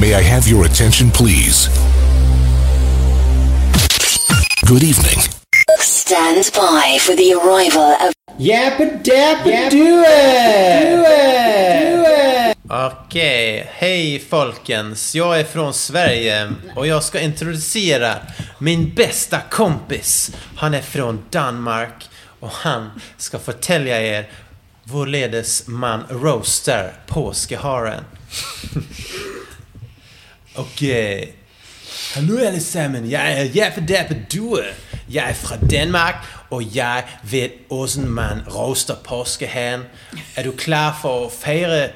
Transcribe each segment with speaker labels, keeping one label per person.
Speaker 1: May I have your attention, please? Good evening.
Speaker 2: Stand by for the arrival of
Speaker 3: Yappa dappa do it! Do it! Do it!
Speaker 4: Okej, hej folkens. Jag är från Sverige och jag ska introducera min bästa kompis. Han är från Danmark och han ska förtälja er hvorledes man roastar påskeharen. Okej. Hallo alle sammen, jeg er Jeppe Dappe Due. Jeg er fra Danmark, og jeg vet hvordan man roaster påskeharen. Er du klar for å feire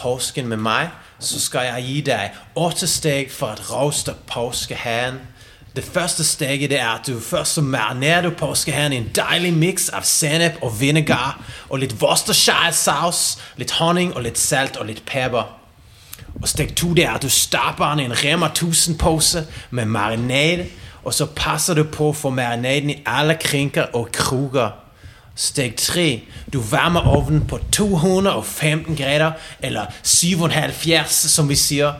Speaker 4: påsken med meg, så skal jeg gi deg åtte steg for å roaste påskeharen. Det første steget det er at du først så marinerer du påskeharen i en deilig miks av sennep og vinegar, og litt Worcestershire-saus, litt honning og litt salt og litt pepper. Og steg to det er at du stapper den i en Rema 1000-pose med marinade, og så passer du på å få marinaden i alle krinker og kroker. Steg tre du varmer ovnen på 215 grader, eller 7,5 som vi sier.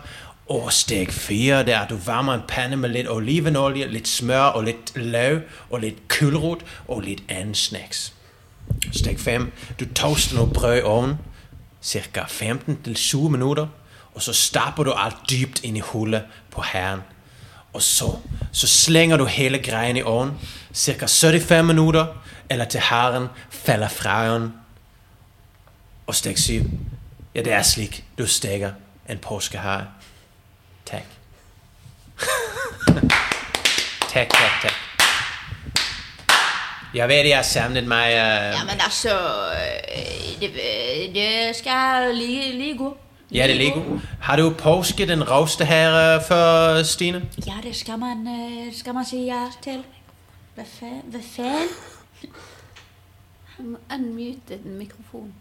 Speaker 4: Og steg fire det er at du varmer en panne med litt olivenolje, litt smør og litt løk og litt gulrot og litt annen snacks. Steg 5. Du toaster noe brød i ovnen, ca. 15-20 minutter, og så stapper du alt dypt inn i hullet på hæren. Og så, så slenger du hele greien i ovnen, ca. 75 minutter, eller til hæren faller fra den. Og steg 7. Ja, det er slik du steker en påskehare. Takk. takk, takk, takk. Jeg vet jeg har savnet meg eh,
Speaker 5: Jamen altså, øh, det, øh, det skal lige, lige gå.
Speaker 4: Ja, det er Lego. Har du påske den roste her øh, før, Stine?
Speaker 5: Ja, det skal man, øh, skal man sige ja til. Hvad fanden? Hvad fanden? Han unmuted den mikrofon.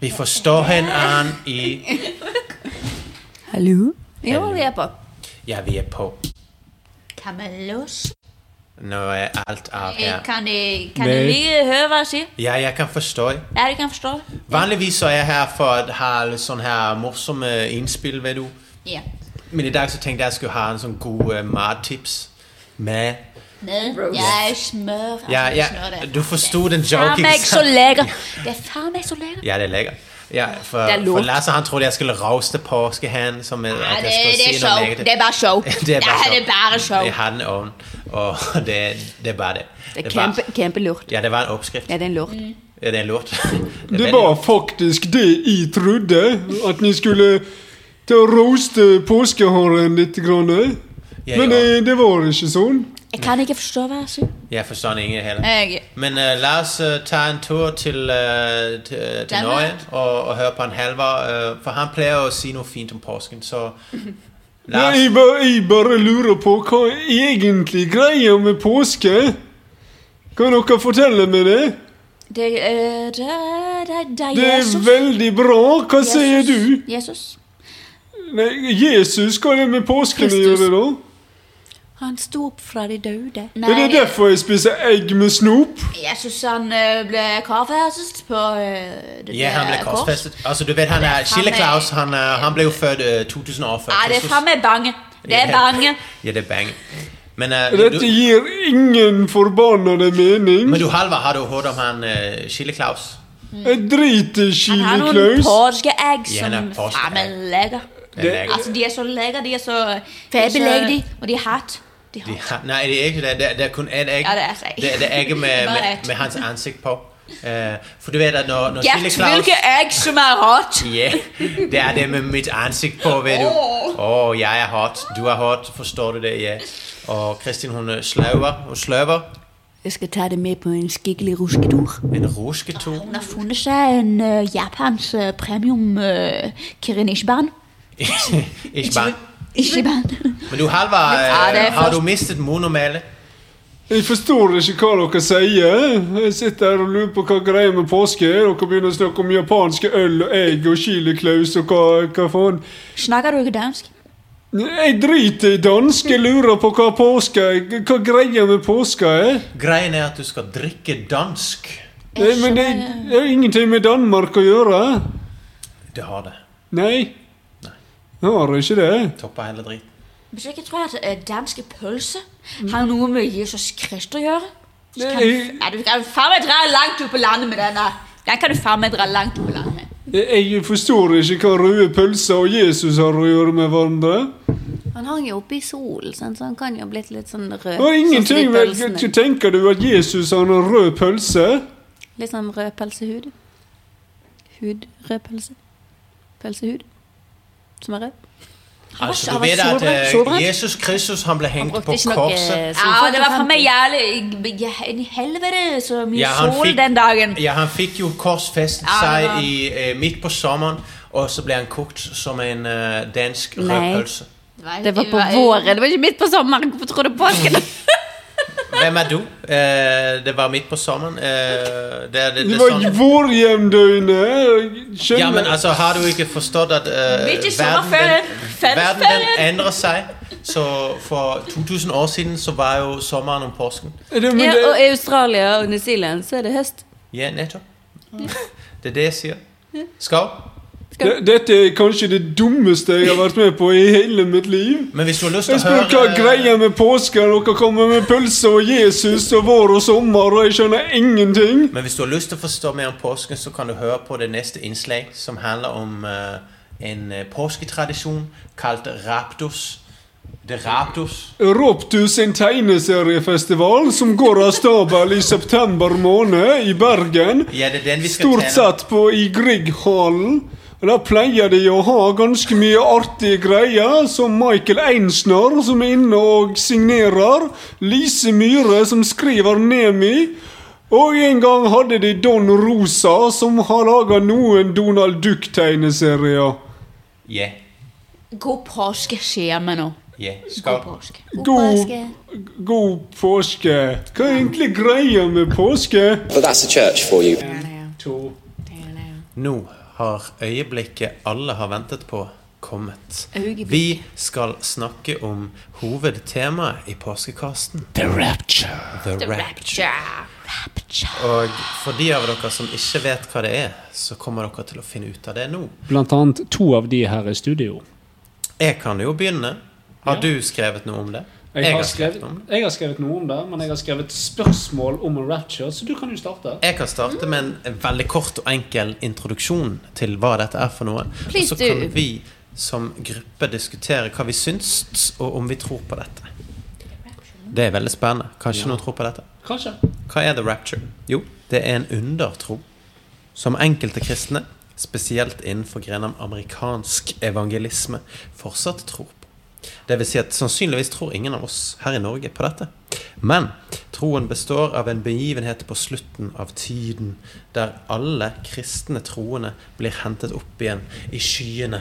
Speaker 4: Vi forstår hinanden i...
Speaker 6: Hallo?
Speaker 5: Jo, vi er på.
Speaker 4: Ja, vi er på.
Speaker 5: Kan man låse?
Speaker 4: Nå er alt av her.
Speaker 5: Ja. Kan I, kan I lige høre, hvad jeg siger?
Speaker 4: Ja, jeg kan forstå.
Speaker 5: Ja, det kan jeg forstå.
Speaker 4: Vanligvis så er jeg her for at have sådan her morsomme indspil, ved du.
Speaker 5: Ja.
Speaker 4: Men i dag så tænkte jeg, at jeg skulle have en sådan god øh, madtips. Men...
Speaker 5: Med jeg smør. Altså,
Speaker 4: Ja, ja,
Speaker 5: smør det.
Speaker 4: du forstod den joke,
Speaker 5: Farme
Speaker 4: ikke
Speaker 5: ikke Ah, så
Speaker 4: sant?
Speaker 5: lækker. Det er farme ikke så lækker.
Speaker 4: Ja, det er lækkert. Ja, for,
Speaker 6: er
Speaker 4: for
Speaker 6: lort.
Speaker 4: Lasse han troede, jeg skulle roaste påskehan, som med,
Speaker 5: Ja,
Speaker 4: at
Speaker 5: det,
Speaker 4: jeg skulle
Speaker 5: det er
Speaker 4: sige noget
Speaker 5: sjov.
Speaker 4: lækkert.
Speaker 5: Det er bare sjov.
Speaker 4: Det er bare
Speaker 5: ja,
Speaker 4: sjov.
Speaker 5: det er bare sjov.
Speaker 4: Jeg har den oven, og det, er- det er bare det.
Speaker 6: Det er
Speaker 4: var-
Speaker 6: kjempe, kjempelurt.
Speaker 4: Ja, det var en oppskrift.
Speaker 6: Ja, det er en lort.
Speaker 4: Ja, det er lort. Det er
Speaker 3: Det
Speaker 4: veldig-
Speaker 3: var faktisk det jeg trodde. At ni skulle ta og roaste påskeharen litt. Grann.
Speaker 4: Ja,
Speaker 3: Men
Speaker 4: ja.
Speaker 3: eh, det var ikke sånn.
Speaker 5: Jeg kan ikke forstå, hvad jeg siger.
Speaker 4: Jeg forstår den ikke heller.
Speaker 5: Ikke.
Speaker 4: Men uh, la oss uh, ta en tur til, uh, til, til
Speaker 5: Danmark.
Speaker 4: Norge og, og høre på en Halvor, uh, for han pleier å si noe fint om påsken, så la
Speaker 3: Jeg,
Speaker 4: oss...
Speaker 3: ba- jeg bare lurer på hva er egentlig greia med påske? Kan dere fortelle meg det?
Speaker 5: Det, øh, det, er- det, er- det er
Speaker 3: Det er
Speaker 5: Jesus.
Speaker 3: veldig bra. Hva sier du?
Speaker 5: Jesus.
Speaker 3: Nei, Jesus, hva er det med påsken å
Speaker 6: Kristus.
Speaker 3: gjøre, da?
Speaker 6: Han sto opp fra de døde.
Speaker 5: Nej,
Speaker 3: Er det derfor jeg spiser egg med snop?
Speaker 5: Jeg synes, han øh, blev korsfæstet på øh, det
Speaker 4: Ja, han ble
Speaker 5: der kors.
Speaker 4: korsfestet. Altså, du vet, han er... Schiller Claus, han, uh, han ble jo født uh, 2000 år før
Speaker 5: Ej, det er
Speaker 4: Kristus.
Speaker 5: fremme bange. Det er
Speaker 4: Ja.
Speaker 5: bange.
Speaker 4: Ja, det er bange. Men, uh,
Speaker 3: Dette
Speaker 4: du,
Speaker 3: gir ingen forbannede mening.
Speaker 4: men du, Halvor, har du hørt om han uh, Schiller Claus?
Speaker 3: Jeg driter i
Speaker 5: Han har
Speaker 3: chili
Speaker 5: nogle
Speaker 3: klaus.
Speaker 5: påskeæg,
Speaker 4: Ja, han
Speaker 5: som
Speaker 4: er påskeæg.
Speaker 5: fremme lækker.
Speaker 4: Den er ikke-
Speaker 5: Altså, de er så lækker, de er så...
Speaker 6: Fabelagtige.
Speaker 5: de er så- Og de er hardt. De er
Speaker 4: De
Speaker 5: hardt.
Speaker 4: har, nej, det er ikke det. Det er, det er kun et æg.
Speaker 5: Ja, det er altså ikke.
Speaker 4: Det, det er ikke med,
Speaker 5: Bare
Speaker 4: med,
Speaker 5: et.
Speaker 4: med hans ansigt på. Uh, for du ved, at når, når Schiller
Speaker 5: Gert,
Speaker 4: Claus...
Speaker 5: hvilke æg, som er hot.
Speaker 4: Ja, det er det med mit ansigt på, ved du. Åh, oh, jeg er hot. Du er hot, forstår du det, ja. Og Kristin, hun øh, sløver, hun sløver
Speaker 6: Jeg skal ta det med på en skikkelig rusketur.
Speaker 4: en rusketur.
Speaker 5: Hun har fundet sig en øh, Japans øh, premium øh, Kirin Ishiban.
Speaker 4: Ikke bare.
Speaker 5: Ishiban.
Speaker 4: Men du, Halvar,
Speaker 5: Ja, det er
Speaker 4: øh, har
Speaker 5: først-
Speaker 4: du mistet monomale?
Speaker 3: Jeg forstår ikke hva dere sier. Jeg sitter her og lurer på hva greia med påske er. Dere begynner å snakke om japanske øl og egg og chili klaus og hva, hva faen.
Speaker 5: Snakker du ikke dansk?
Speaker 3: Jeg driter i dansk. Jeg lurer på hva påske er. Hva greia med påska er.
Speaker 4: Grejen er, at du skal drikke dansk.
Speaker 3: Nei, men det det har ingenting med Danmark å gjøre.
Speaker 4: Det har det.
Speaker 3: Nei.
Speaker 7: Har du ikke det?
Speaker 4: Topper hele driten.
Speaker 5: Hvis ikke tror jeg at
Speaker 8: øh,
Speaker 5: eh, danske pølse har
Speaker 6: Mhm.
Speaker 5: noe med Jesus Kristus å gjøre.
Speaker 7: Nei,
Speaker 8: Kan, ja, du kan faen meg dra langt opp på landet med denne. Den kan du faen meg dra langt opp på landet med.
Speaker 7: Jeg jeg forstår ikke hva røde pølser og Jesus har å gjøre med hverandre.
Speaker 6: Han hang jo oppe i solen, sant, så han kan jo ha blitt litt sånn rød.
Speaker 7: Det var ingenting
Speaker 6: sånn som de
Speaker 7: vel,
Speaker 6: pølsene.
Speaker 7: ikke Tenker du at Jesus har en rød pølse?
Speaker 6: Litt sånn rød pølsehud. Hud, rød pølse. Pølsehud. Som er rød.
Speaker 4: Altså,
Speaker 5: han
Speaker 4: du
Speaker 5: var
Speaker 4: vet at
Speaker 5: solbrent-
Speaker 4: eh,
Speaker 5: solbrent.
Speaker 4: Jesus Kristus han ble hengt på
Speaker 6: noe
Speaker 5: eh,
Speaker 4: korset.
Speaker 6: solfaktor,
Speaker 8: Ja, det var faen
Speaker 6: fant
Speaker 8: meg
Speaker 6: du.
Speaker 8: jævlig ja, En helvete så mye
Speaker 4: Ja, han
Speaker 8: sol
Speaker 4: fikk-
Speaker 8: den dagen.
Speaker 4: Ja, han fikk jo korsfestet
Speaker 8: Ja, det var-
Speaker 4: seg i, eh, midt på sommeren, og så ble han kokt som en eh, dansk rød
Speaker 6: Nei.
Speaker 4: pølse.
Speaker 6: Det var på våren, det var ikke midt på sommeren. Hvorfor tror du påsken?
Speaker 4: Hvem er du? Eh, det var midt på sommeren. Eh, det, er- det,
Speaker 7: Det
Speaker 4: det,
Speaker 7: var
Speaker 4: er sånn.
Speaker 7: vårjevndøgnet.
Speaker 4: Ja, men
Speaker 7: Skjønner
Speaker 4: altså, har du ikke forstått at eh,
Speaker 8: Midt i
Speaker 4: verden,
Speaker 8: sommerferien.
Speaker 4: den, verden den
Speaker 8: Fellesferien.
Speaker 4: endrer seg? Så for 2000 år siden så var jo sommeren og påsken.
Speaker 7: det, men
Speaker 6: Ja,
Speaker 7: det,
Speaker 6: og i Australia og New Zealand så er det høst.
Speaker 4: Ja, nettopp. Det er det jeg sier. Skål.
Speaker 7: det, Dette er kanskje det dummeste jeg har vært med på i hele mitt liv.
Speaker 4: Men hvis du har lyst til
Speaker 7: Jeg
Speaker 4: å
Speaker 7: spør hva
Speaker 4: høre øh,
Speaker 7: greia med påske Dere kommer med pølse og Jesus og vår og sommer, og jeg skjønner ingenting.
Speaker 4: Men hvis du har lyst til å forstå mer om påsken, så kan du høre på det neste innslag, som handler om eh, en eh, påsketradisjon kalt raptus. Det raptus.
Speaker 7: Roptus en tegneseriefestival som går av stabel i september måned i Bergen.
Speaker 4: Ja, det er den vi skal
Speaker 7: Stort
Speaker 4: tale om.
Speaker 7: sett på i Grieghallen. Og Der pleier de å ha ganske mye artige greier, som Michael Einsner som er inne og signerer. Lise Myhre som skriver Nemi. Og en gang hadde de Don Rosa som har laga noen Donald Duck-tegneserier.
Speaker 4: Ja.
Speaker 8: God påske skjer med nå.
Speaker 4: Ja.
Speaker 8: God
Speaker 4: Skål.
Speaker 8: påske.
Speaker 7: God, god påske. Hva er egentlig greia med påske?
Speaker 9: But that's a church for you.
Speaker 4: Nå har øyeblikket alle har ventet på, kommet. Vi skal snakke om hovedtemaet i påskekasten. The rapture. The rapture. Og for de av dere som ikke vet hva det er, så kommer dere til å finne ut av det nå.
Speaker 3: Blant annet to av de her i studio.
Speaker 4: Jeg kan jo begynne. Har
Speaker 3: Ja.
Speaker 4: du skrevet noe om det?
Speaker 3: Jeg har, skrevet,
Speaker 4: om det.
Speaker 3: jeg har skrevet noe om det, men jeg har skrevet spørsmål om rapture, så du kan jo starte.
Speaker 4: Jeg kan starte med en veldig kort og enkel introduksjon til hva dette er for noe.
Speaker 6: Please
Speaker 4: og så kan
Speaker 6: do.
Speaker 4: vi som gruppe diskutere hva vi syns, og om vi tror på dette. Det er veldig spennende. Kanskje noen tror på dette.
Speaker 3: Kanskje.
Speaker 4: Hva er the rapture? Jo, det er en undertro som enkelte kristne, spesielt innenfor grenen amerikansk evangelisme, fortsatt tror på. Det vil si at sannsynligvis tror ingen av oss her i Norge på dette. Men troen består av en begivenhet på slutten av tiden, der alle kristne troende blir hentet opp igjen i skyene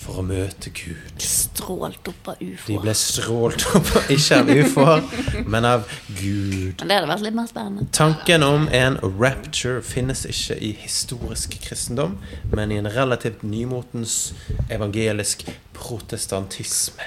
Speaker 4: for å møte Gud.
Speaker 6: Strålt opp av
Speaker 4: De
Speaker 6: ufoer.
Speaker 4: ble strålt opp, ikke av ufoer, men av Gud.
Speaker 6: Men det hadde vært litt mer spennende.
Speaker 4: Tanken om en rapture finnes ikke i historisk kristendom, men i en relativt nymotens evangelisk protestantisme.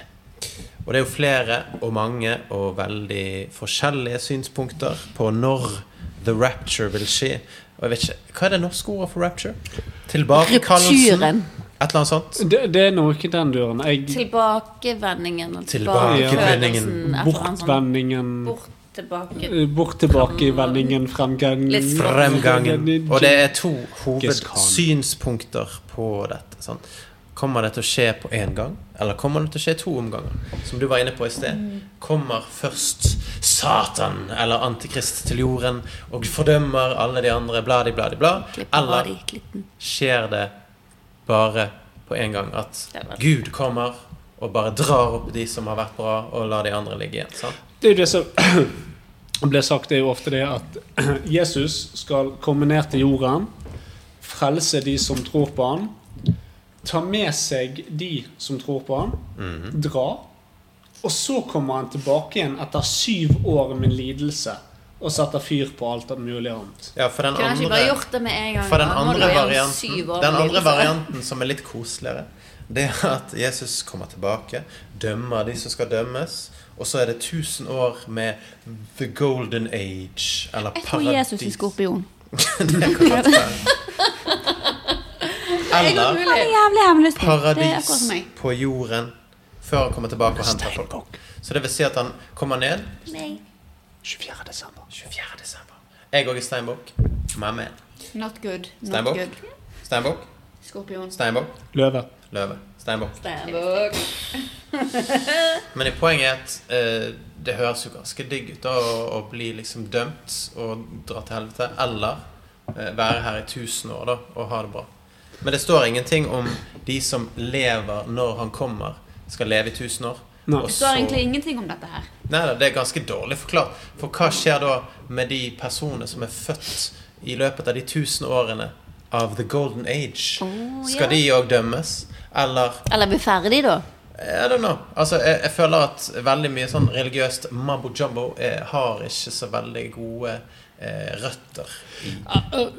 Speaker 4: Og det er jo flere og mange og veldig forskjellige synspunkter på når the rapture vil skje. Og jeg vet ikke, Hva er det norske ordet for rapture? Tilbakekallelsen?
Speaker 6: Rupturen.
Speaker 4: Et eller annet sånt?
Speaker 3: Det, det er noe i den duren. Jeg,
Speaker 6: Tilbakevendingen og
Speaker 4: Tilbakevendingen.
Speaker 6: tilbakeførelsen, et eller annet sånt.
Speaker 3: bortvendingen
Speaker 6: Bort tilbake.
Speaker 3: eh, Bort tilbake i vendingen, fremgangen
Speaker 6: Litt fra-
Speaker 4: Fremgangen. Og det er to
Speaker 3: Giskan.
Speaker 4: hovedsynspunkter på dette. Sant? Kommer det til å skje på én gang, eller kommer det til å skje to omganger? Som du var inne på i sted. Kommer først Satan eller Antikrist til jorden og fordømmer alle de andre, bla, di, bla, di, bla?
Speaker 6: Klippen var
Speaker 4: Eller
Speaker 6: de klippen.
Speaker 4: skjer det bare på en gang at
Speaker 6: Det var-
Speaker 4: Gud kommer og bare drar opp de som har vært bra, og lar de andre ligge igjen? Sant?
Speaker 3: Det er jo det som ble sagt, det er jo ofte det at Jesus skal komme ned til jorden, frelse de som tror på han, ta med seg de som tror på han, dra, og så kommer han tilbake igjen etter syv år med lidelse og setter fyr på alt av mulig annet.
Speaker 4: Ja, for den
Speaker 6: Kunne han ikke bare
Speaker 4: andre
Speaker 6: gjort det med en gang?
Speaker 4: For den
Speaker 6: da? Nå
Speaker 4: andre
Speaker 6: lå jeg om
Speaker 4: varianten,
Speaker 6: syv år
Speaker 4: den
Speaker 6: med
Speaker 4: andre
Speaker 6: lidelse.
Speaker 4: varianten som er litt koseligere, det er at Jesus kommer tilbake, dømmer de som skal dømmes, og så er det 1000 år med the golden age, eller
Speaker 8: Jeg tror Jesus er
Speaker 4: paradis.
Speaker 8: skorpion.
Speaker 4: Det kan godt være. eller
Speaker 8: Han er jævlig hemmelig. Det er akkurat
Speaker 4: paradis
Speaker 8: som meg.
Speaker 4: på jorden før han kommer tilbake og henter folk. Så det vil si at han kommer ned 24. desember. 24. desember. Jeg òg er steinbukk. My man.
Speaker 5: Not good. Not
Speaker 4: Steinbukk.
Speaker 5: good.
Speaker 4: Steinbukk.
Speaker 5: Skorpion.
Speaker 4: Steinbukk.
Speaker 3: Løve.
Speaker 4: Løve. Steinbukk.
Speaker 5: Steinbukk.
Speaker 4: Men poenget er at eh, det høres jo ganske digg ut da, å, å bli liksom dømt og dra til helvete. Eller eh, være her i tusen år da, og ha det bra. Men det står ingenting om de som lever når han kommer, skal leve i tusen år.
Speaker 3: Nei.
Speaker 4: Og
Speaker 5: Det
Speaker 4: så-
Speaker 5: står egentlig ingenting om dette her.
Speaker 4: Neida, det er ganske dårlig forklart. For hva skjer da med de personene som er født i løpet av de tusen årene av The Golden Age? Skal de òg dømmes? Eller
Speaker 6: Eller bli ferdig, da.
Speaker 4: I don't know. Altså, jeg, jeg føler at veldig mye sånn religiøst mambo jumbo eh, har ikke så veldig gode eh, røtter. I.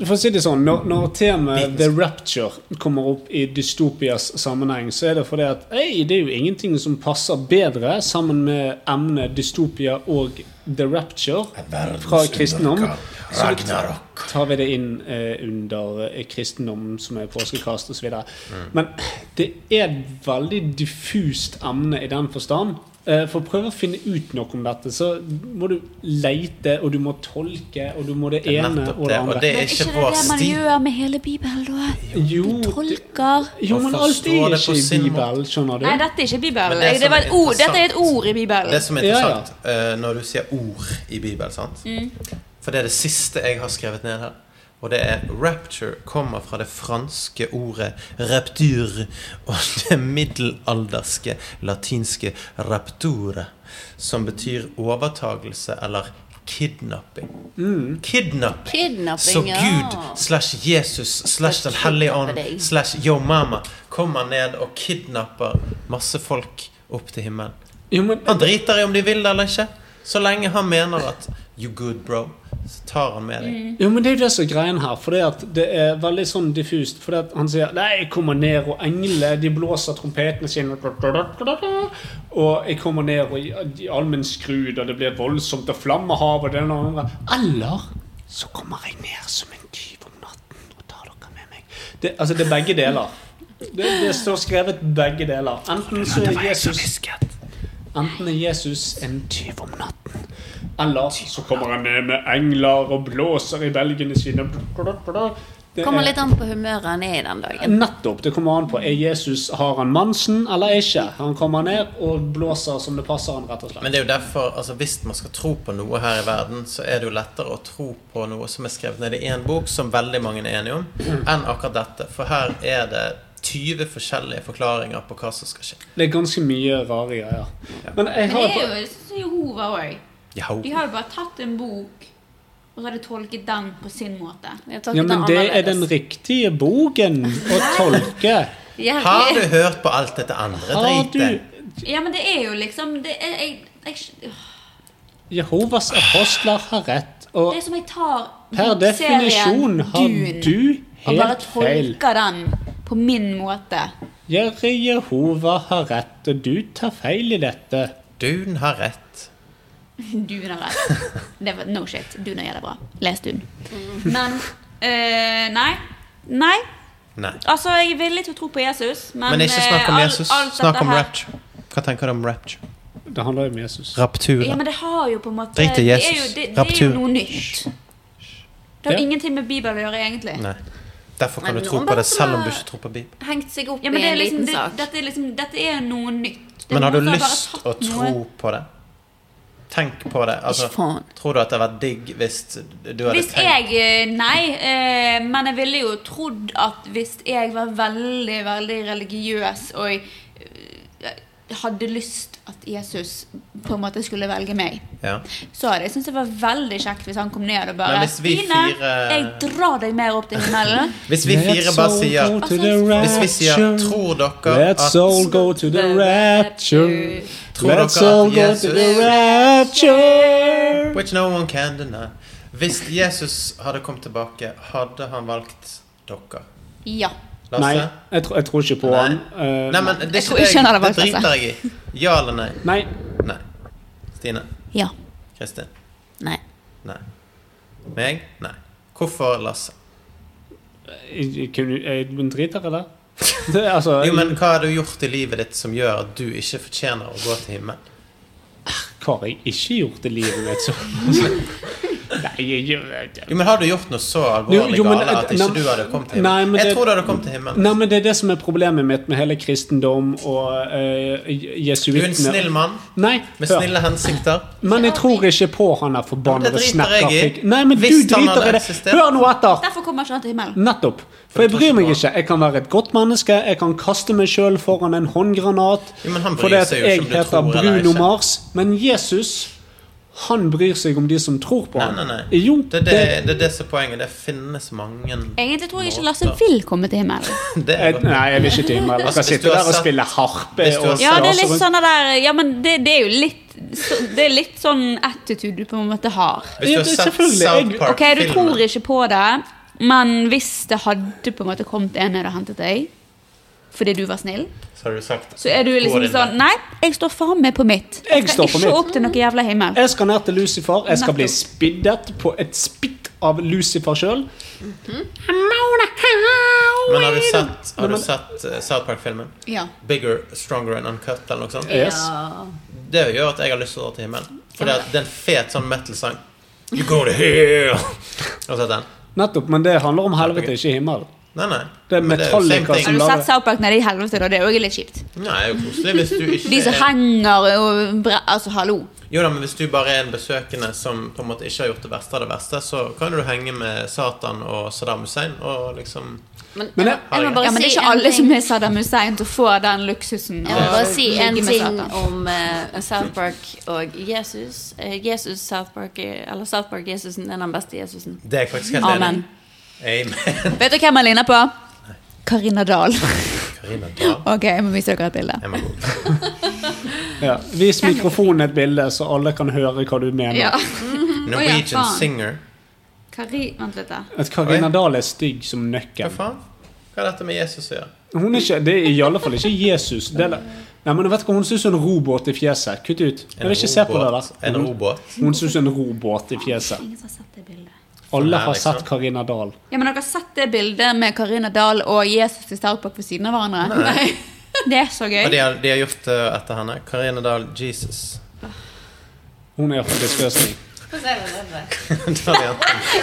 Speaker 3: For å si det sånn, når, når temaet The Rapture kommer opp i dystopias sammenheng, så er det fordi at ei, det er jo ingenting som passer bedre sammen med emnet dystopia og The Rapture fra kristendom. Så det- tar vi det inn eh, under eh, kristendom, som er påskekast osv. videre
Speaker 4: Mm.
Speaker 3: Men det er et veldig diffust emne i den forstand. Eh, for å prøve å finne ut noe om dette, så må du leite, og du må tolke, og du må det
Speaker 4: er
Speaker 3: ene
Speaker 4: nettopp
Speaker 3: og det
Speaker 4: det, og
Speaker 3: andre.
Speaker 4: det er
Speaker 8: Men
Speaker 4: ikke
Speaker 8: ikke det
Speaker 4: vår
Speaker 8: det man
Speaker 4: stil.
Speaker 8: gjør med hele Bibelen, da?
Speaker 3: Jo,
Speaker 8: Du
Speaker 3: det-
Speaker 8: tolker
Speaker 3: Jo,
Speaker 4: Og
Speaker 3: men alt
Speaker 4: forstå
Speaker 3: er
Speaker 4: det på
Speaker 3: ikke i
Speaker 4: sin
Speaker 3: Bibelen, skjønner du.
Speaker 5: Nei, dette er ikke Bibelen.
Speaker 4: Men det
Speaker 5: Det,
Speaker 4: som
Speaker 5: var
Speaker 4: er
Speaker 5: et ord. Dette er et
Speaker 4: interessant-
Speaker 5: ord i Bibelen.
Speaker 4: Det som er
Speaker 3: Ja, ja.
Speaker 4: interessant eh, når du sier ord i Bibelen, sant? For det er det siste jeg har skrevet ned her. Og det er 'rapture' kommer fra det franske ordet 'rapture' og det middelalderske latinske 'rapture', som betyr overtagelse eller kidnapping.
Speaker 3: Mm.
Speaker 4: Kidnapping.
Speaker 6: Kidnapping,
Speaker 4: Så
Speaker 6: ja.
Speaker 4: Gud slash Jesus slash Den hellige
Speaker 6: kidnappe
Speaker 4: ånd
Speaker 6: deg.
Speaker 4: slash yo mama kommer ned og kidnapper masse folk opp til himmelen.
Speaker 3: Jo, men
Speaker 4: Han driter i om de vil det eller ikke. Så lenge han mener at you good, bro, så tar han med deg.
Speaker 5: Mm.
Speaker 3: Jo, men det er jo det som er greien her. For det, at det er veldig sånn diffust. For det at han sier 'Nei, jeg kommer ned, og englene de blåser trompetene sine' Og 'jeg kommer ned, og i- i allmenn skrud, og det blir voldsomt, og flammehav', og det ene og det andre. Eller så kommer jeg ned som en tyv om natten og tar dere med meg. Det, altså, det er begge deler. Det, det står skrevet begge deler. Enten så er Jesus Enten er Jesus en tyv om natten, eller så kommer han ned med engler og blåser i belgene sine. Det
Speaker 6: Kommer
Speaker 3: er
Speaker 6: litt an på humøret han er i den dagen.
Speaker 3: nettopp. Det kommer an på er Jesus har han Mansen eller ikke. Han kommer ned og blåser som det passer han, rett og slett.
Speaker 4: Men det er jo derfor, altså hvis man skal tro på noe her i verden, så er det jo lettere å tro på noe som er skrevet ned i én bok, som veldig mange er enige om, enn akkurat dette. For her er det 20 forskjellige forklaringer på hva som skal skje.
Speaker 3: Det er ganske mye rare greier. Men jeg
Speaker 5: Men
Speaker 3: har
Speaker 5: det er jo sånn som Jehova òg.
Speaker 4: Ja,
Speaker 5: De har jo bare tatt en bok, og så har de tolket den på sin måte.
Speaker 6: Jeg tolket
Speaker 3: ja, men
Speaker 6: han
Speaker 3: det er den
Speaker 6: annerledes.
Speaker 3: riktige boken å tolke.
Speaker 6: Ja,
Speaker 4: Har du hørt på alt dette andre
Speaker 3: Har du
Speaker 4: dritet?
Speaker 5: Ja, men det er jo liksom Det er, jeg, jeg,
Speaker 3: Jehovas apostler har rett, og
Speaker 5: det er som jeg tar
Speaker 3: per definisjon har
Speaker 5: serien
Speaker 3: du
Speaker 5: og bare
Speaker 3: helt feil.
Speaker 5: tolker den på min måte.
Speaker 3: Jerry Jehova har rett, og du tar feil i dette.
Speaker 4: Duden har rett.
Speaker 5: Dune har rett. Det var, no shit. Dune gjør det bra. Les Dune.
Speaker 4: Mm.
Speaker 5: Men eh, Nei. Nei.
Speaker 4: Nei.
Speaker 5: Altså, jeg er villig til å tro på Jesus, men,
Speaker 4: Men ikke snakk om
Speaker 5: eh, all-
Speaker 4: Jesus.
Speaker 5: alt dette
Speaker 4: Snakk om
Speaker 5: her-
Speaker 4: rapture. Hva tenker du om rapture?
Speaker 3: Det handler jo om Jesus.
Speaker 5: Ja,
Speaker 4: Rapture.
Speaker 5: men det har jo på en måte
Speaker 4: Drit i
Speaker 5: det er
Speaker 4: Jesus.
Speaker 5: jo- Det, det, er
Speaker 4: Raptur.
Speaker 5: jo noe nytt. Det har
Speaker 3: Ja.
Speaker 5: ingenting med Bibelen å gjøre, egentlig.
Speaker 4: Nei. Derfor kan
Speaker 6: Men
Speaker 4: du tro
Speaker 6: noen
Speaker 4: på det
Speaker 6: bare
Speaker 4: selv om du
Speaker 6: har-
Speaker 4: ikke tror på Bibelen.
Speaker 6: Hengt seg opp
Speaker 5: Ja, men
Speaker 6: i
Speaker 5: det er
Speaker 6: en
Speaker 5: liksom,
Speaker 6: liten
Speaker 5: det,
Speaker 6: sak.
Speaker 5: dette, er liksom, dette er noe nytt. Det er
Speaker 4: Men har du
Speaker 5: noen som bare
Speaker 4: lyst
Speaker 5: tatt
Speaker 4: å tro
Speaker 5: noe-
Speaker 4: på det? Tenk på det.
Speaker 6: Ikke
Speaker 4: Altså,
Speaker 6: faen.
Speaker 4: tror du at det hadde vært digg hvis du hadde
Speaker 5: Hvis
Speaker 4: tenkt
Speaker 5: jeg eh, Nei, eh, men jeg ville jo trodd at hvis jeg var veldig, veldig religiøs og jeg eh, hadde lyst at Jesus på en måte skulle velge meg,
Speaker 4: ja.
Speaker 5: så hadde jeg syntes det var veldig kjekt hvis han kom ned og bare
Speaker 4: Men hvis vi
Speaker 5: Stine,
Speaker 4: fire-
Speaker 5: jeg drar deg mer opp til himmelen.
Speaker 4: Hvis vi fire bare sier Hvis vi sier Tror dere
Speaker 3: Let's
Speaker 4: at
Speaker 3: all go to the rapture.
Speaker 4: Tror dere
Speaker 3: Let's all
Speaker 4: at
Speaker 3: go to the
Speaker 4: Jesus
Speaker 3: rapture.
Speaker 4: Which no one can deny Hvis Jesus hadde kommet tilbake, hadde han valgt dere?
Speaker 5: Ja.
Speaker 4: Lasse?
Speaker 3: Nei, jeg, tror- jeg tror ikke på
Speaker 4: Nei.
Speaker 3: han. Eh,
Speaker 4: Nei, men det, er
Speaker 5: tror
Speaker 4: ikke
Speaker 5: ikke han hadde
Speaker 4: det, det
Speaker 5: valgt Lasse.
Speaker 4: driter jeg i. Ja eller nei?
Speaker 3: nei.
Speaker 4: Nei. Stine?
Speaker 6: Ja.
Speaker 4: Kristin?
Speaker 6: Nei.
Speaker 4: Nei. Meg? Nei. Hvorfor Lasse?
Speaker 3: Jeg, jeg, kunne- jeg driter i det. det er altså,
Speaker 4: Jo, men hva har du gjort i livet ditt som gjør at du ikke fortjener å gå til himmelen?
Speaker 3: Hva har jeg ikke gjort i livet mitt? Så. Nei, jeg, jeg, jeg
Speaker 4: Jo, men har du gjort noe så
Speaker 3: Jo,
Speaker 4: alvorlig
Speaker 3: jo, men-
Speaker 4: gale at
Speaker 3: nei,
Speaker 4: ikke du hadde kommet til
Speaker 3: nei, men
Speaker 4: himmelen? Jeg
Speaker 3: det-
Speaker 4: tror du hadde kommet til himmelen.
Speaker 3: Nei, men Det er det som er problemet mitt med hele kristendom og uh,
Speaker 4: Du er en
Speaker 3: jesuittene.
Speaker 4: snill mann
Speaker 3: Nei,
Speaker 4: med
Speaker 3: hør.
Speaker 4: snille hensikter.
Speaker 3: Men jeg tror ikke på han
Speaker 4: Ja,
Speaker 3: der
Speaker 4: men
Speaker 3: forbannede
Speaker 4: det driter jeg i.
Speaker 3: snekkerpikken. Nei, men du
Speaker 4: Hvis han
Speaker 3: driter
Speaker 4: hadde
Speaker 3: i det.
Speaker 4: eksistert.
Speaker 3: Hør nå etter!
Speaker 5: Derfor kommer ikke han til himmelen.
Speaker 3: Nettopp. For jeg bryr meg ikke. Jeg kan være et godt menneske. Jeg kan kaste meg sjøl foran en håndgranat.
Speaker 4: Jo, men han bryr
Speaker 3: Fordi at
Speaker 4: seg jo ikke om
Speaker 3: jeg
Speaker 4: du
Speaker 3: heter
Speaker 4: tror eller
Speaker 3: Bruno
Speaker 4: ikke.
Speaker 3: Mars. Men Jesus, han bryr seg om de som tror på
Speaker 4: Nei,
Speaker 3: ham.
Speaker 4: nei, nei.
Speaker 3: Jo,
Speaker 4: det, er det, det er det som er poenget. Det finnes mange
Speaker 5: Egentlig tror jeg ikke Lasse vil komme til himmelen.
Speaker 4: Det er
Speaker 3: Jeg,
Speaker 4: godt.
Speaker 3: nei, jeg vil ikke til himmelen. Jeg skal
Speaker 4: Altså, Hvis du har
Speaker 3: sitte der og
Speaker 4: sett-
Speaker 3: spille harpe.
Speaker 4: Hvis du har
Speaker 3: Og
Speaker 4: sett-
Speaker 5: Ja, det er
Speaker 3: stase
Speaker 5: litt
Speaker 3: rundt.
Speaker 5: sånn det der Ja, men det, det er jo litt så, Det er litt sånn attitude du på en måte har.
Speaker 4: Hvis du
Speaker 3: Ja,
Speaker 4: har
Speaker 3: det-
Speaker 4: sett
Speaker 3: selvfølgelig.
Speaker 4: South
Speaker 5: Ok,
Speaker 3: Jeg-
Speaker 5: du
Speaker 4: Park-filmen
Speaker 5: tror ikke på det, men hvis det hadde på en måte kommet en ned og hentet deg fordi du var snill,
Speaker 4: Så har du sagt
Speaker 5: så er du liksom sånn Nei, jeg står faen meg på mitt.
Speaker 3: Jeg
Speaker 5: skal
Speaker 3: står på
Speaker 5: ikke
Speaker 3: mitt.
Speaker 5: opp til noe jævla himmel.
Speaker 3: Jeg skal ned til Lucifer. Jeg skal bli
Speaker 5: Nettopp.
Speaker 3: spiddet på et spytt av Lucifer sjøl.
Speaker 4: Men har du sett, har du sett eh, South Park-filmen?
Speaker 5: Ja.
Speaker 4: Bigger, Stronger and Uncut eller noe sånt?
Speaker 3: Yes.
Speaker 4: Det gjør at jeg har lyst til å dra til himmelen. For det er- det er en fet sånn metal-sang. You go to hell! Har du sett den?
Speaker 3: Nettopp. Men det handler om helvete, ikke himmel.
Speaker 4: Nei, nei.
Speaker 3: Det er
Speaker 4: Men jo
Speaker 3: Metallica
Speaker 4: same
Speaker 5: Har
Speaker 3: som
Speaker 4: thing.
Speaker 5: du
Speaker 3: lager-
Speaker 5: sett South Park nede i helvete, da? Det er òg litt kjipt.
Speaker 4: Nei, det er jo koselig hvis du ikke
Speaker 5: De som
Speaker 4: er
Speaker 5: henger og bre- Altså, hallo.
Speaker 4: Jo da, men hvis du bare er en besøkende som på en måte ikke har gjort det verste av det verste, så kan du henge med Satan og Saddam Hussein og liksom
Speaker 6: Men,
Speaker 3: Men
Speaker 6: jeg,
Speaker 3: jeg-
Speaker 6: jeg må bare
Speaker 5: Ja, men det er
Speaker 6: si
Speaker 5: ikke
Speaker 6: en
Speaker 5: alle
Speaker 6: ting.
Speaker 5: som er Saddam Hussein til å få den luksusen.
Speaker 6: Jeg må
Speaker 5: å
Speaker 6: bare si en
Speaker 5: ligge med
Speaker 6: ting
Speaker 5: Satan.
Speaker 6: om eh, South Park og Jesus. Eh, Jesus, South Park, eh, eller South Park Jesusen er den beste Jesusen.
Speaker 4: Det er jeg faktisk helt
Speaker 6: Amen.
Speaker 4: enig i. Amen.
Speaker 5: Vet du hvem han ligner på? Karina Dahl.
Speaker 4: Karina Dahl.
Speaker 5: Ok, jeg må vise dere et bilde.
Speaker 4: Jeg må gå.
Speaker 3: Ja. Vis mikrofonen et bilde, så alle kan høre hva du mener.
Speaker 5: Ja.
Speaker 4: Norwegian
Speaker 5: faen.
Speaker 4: singer.
Speaker 5: Kari, vent litt da.
Speaker 3: At Karina
Speaker 4: Oi.
Speaker 3: Dahl er stygg som
Speaker 4: Hva
Speaker 3: nøkken.
Speaker 4: faen? Hva har dette med Jesus å gjøre?
Speaker 3: Hun er ikke, det er i alle fall ikke Jesus. Det er, nei, men du vet hva, Hun ser ut som en robåt i fjeset. Kutt ut. Jeg vil ikke se på det
Speaker 4: robåt.
Speaker 3: der.
Speaker 4: En
Speaker 3: Hun,
Speaker 4: robåt.
Speaker 3: hun ser ut som en robåt i fjeset.
Speaker 5: Ingen som har sett det bildet.
Speaker 3: Alle
Speaker 4: Nei,
Speaker 3: har
Speaker 4: liksom.
Speaker 3: sett Karina Dahl.
Speaker 5: Ja, men dere har sett det bildet med Karina Dahl og Jesus i South Park ved siden av hverandre? Nei. Det er så gøy.
Speaker 4: Og de har, de har gjort det etter henne. Karina Dahl, Jesus.
Speaker 3: Hun er for disgusting.
Speaker 4: Da har vi Jan-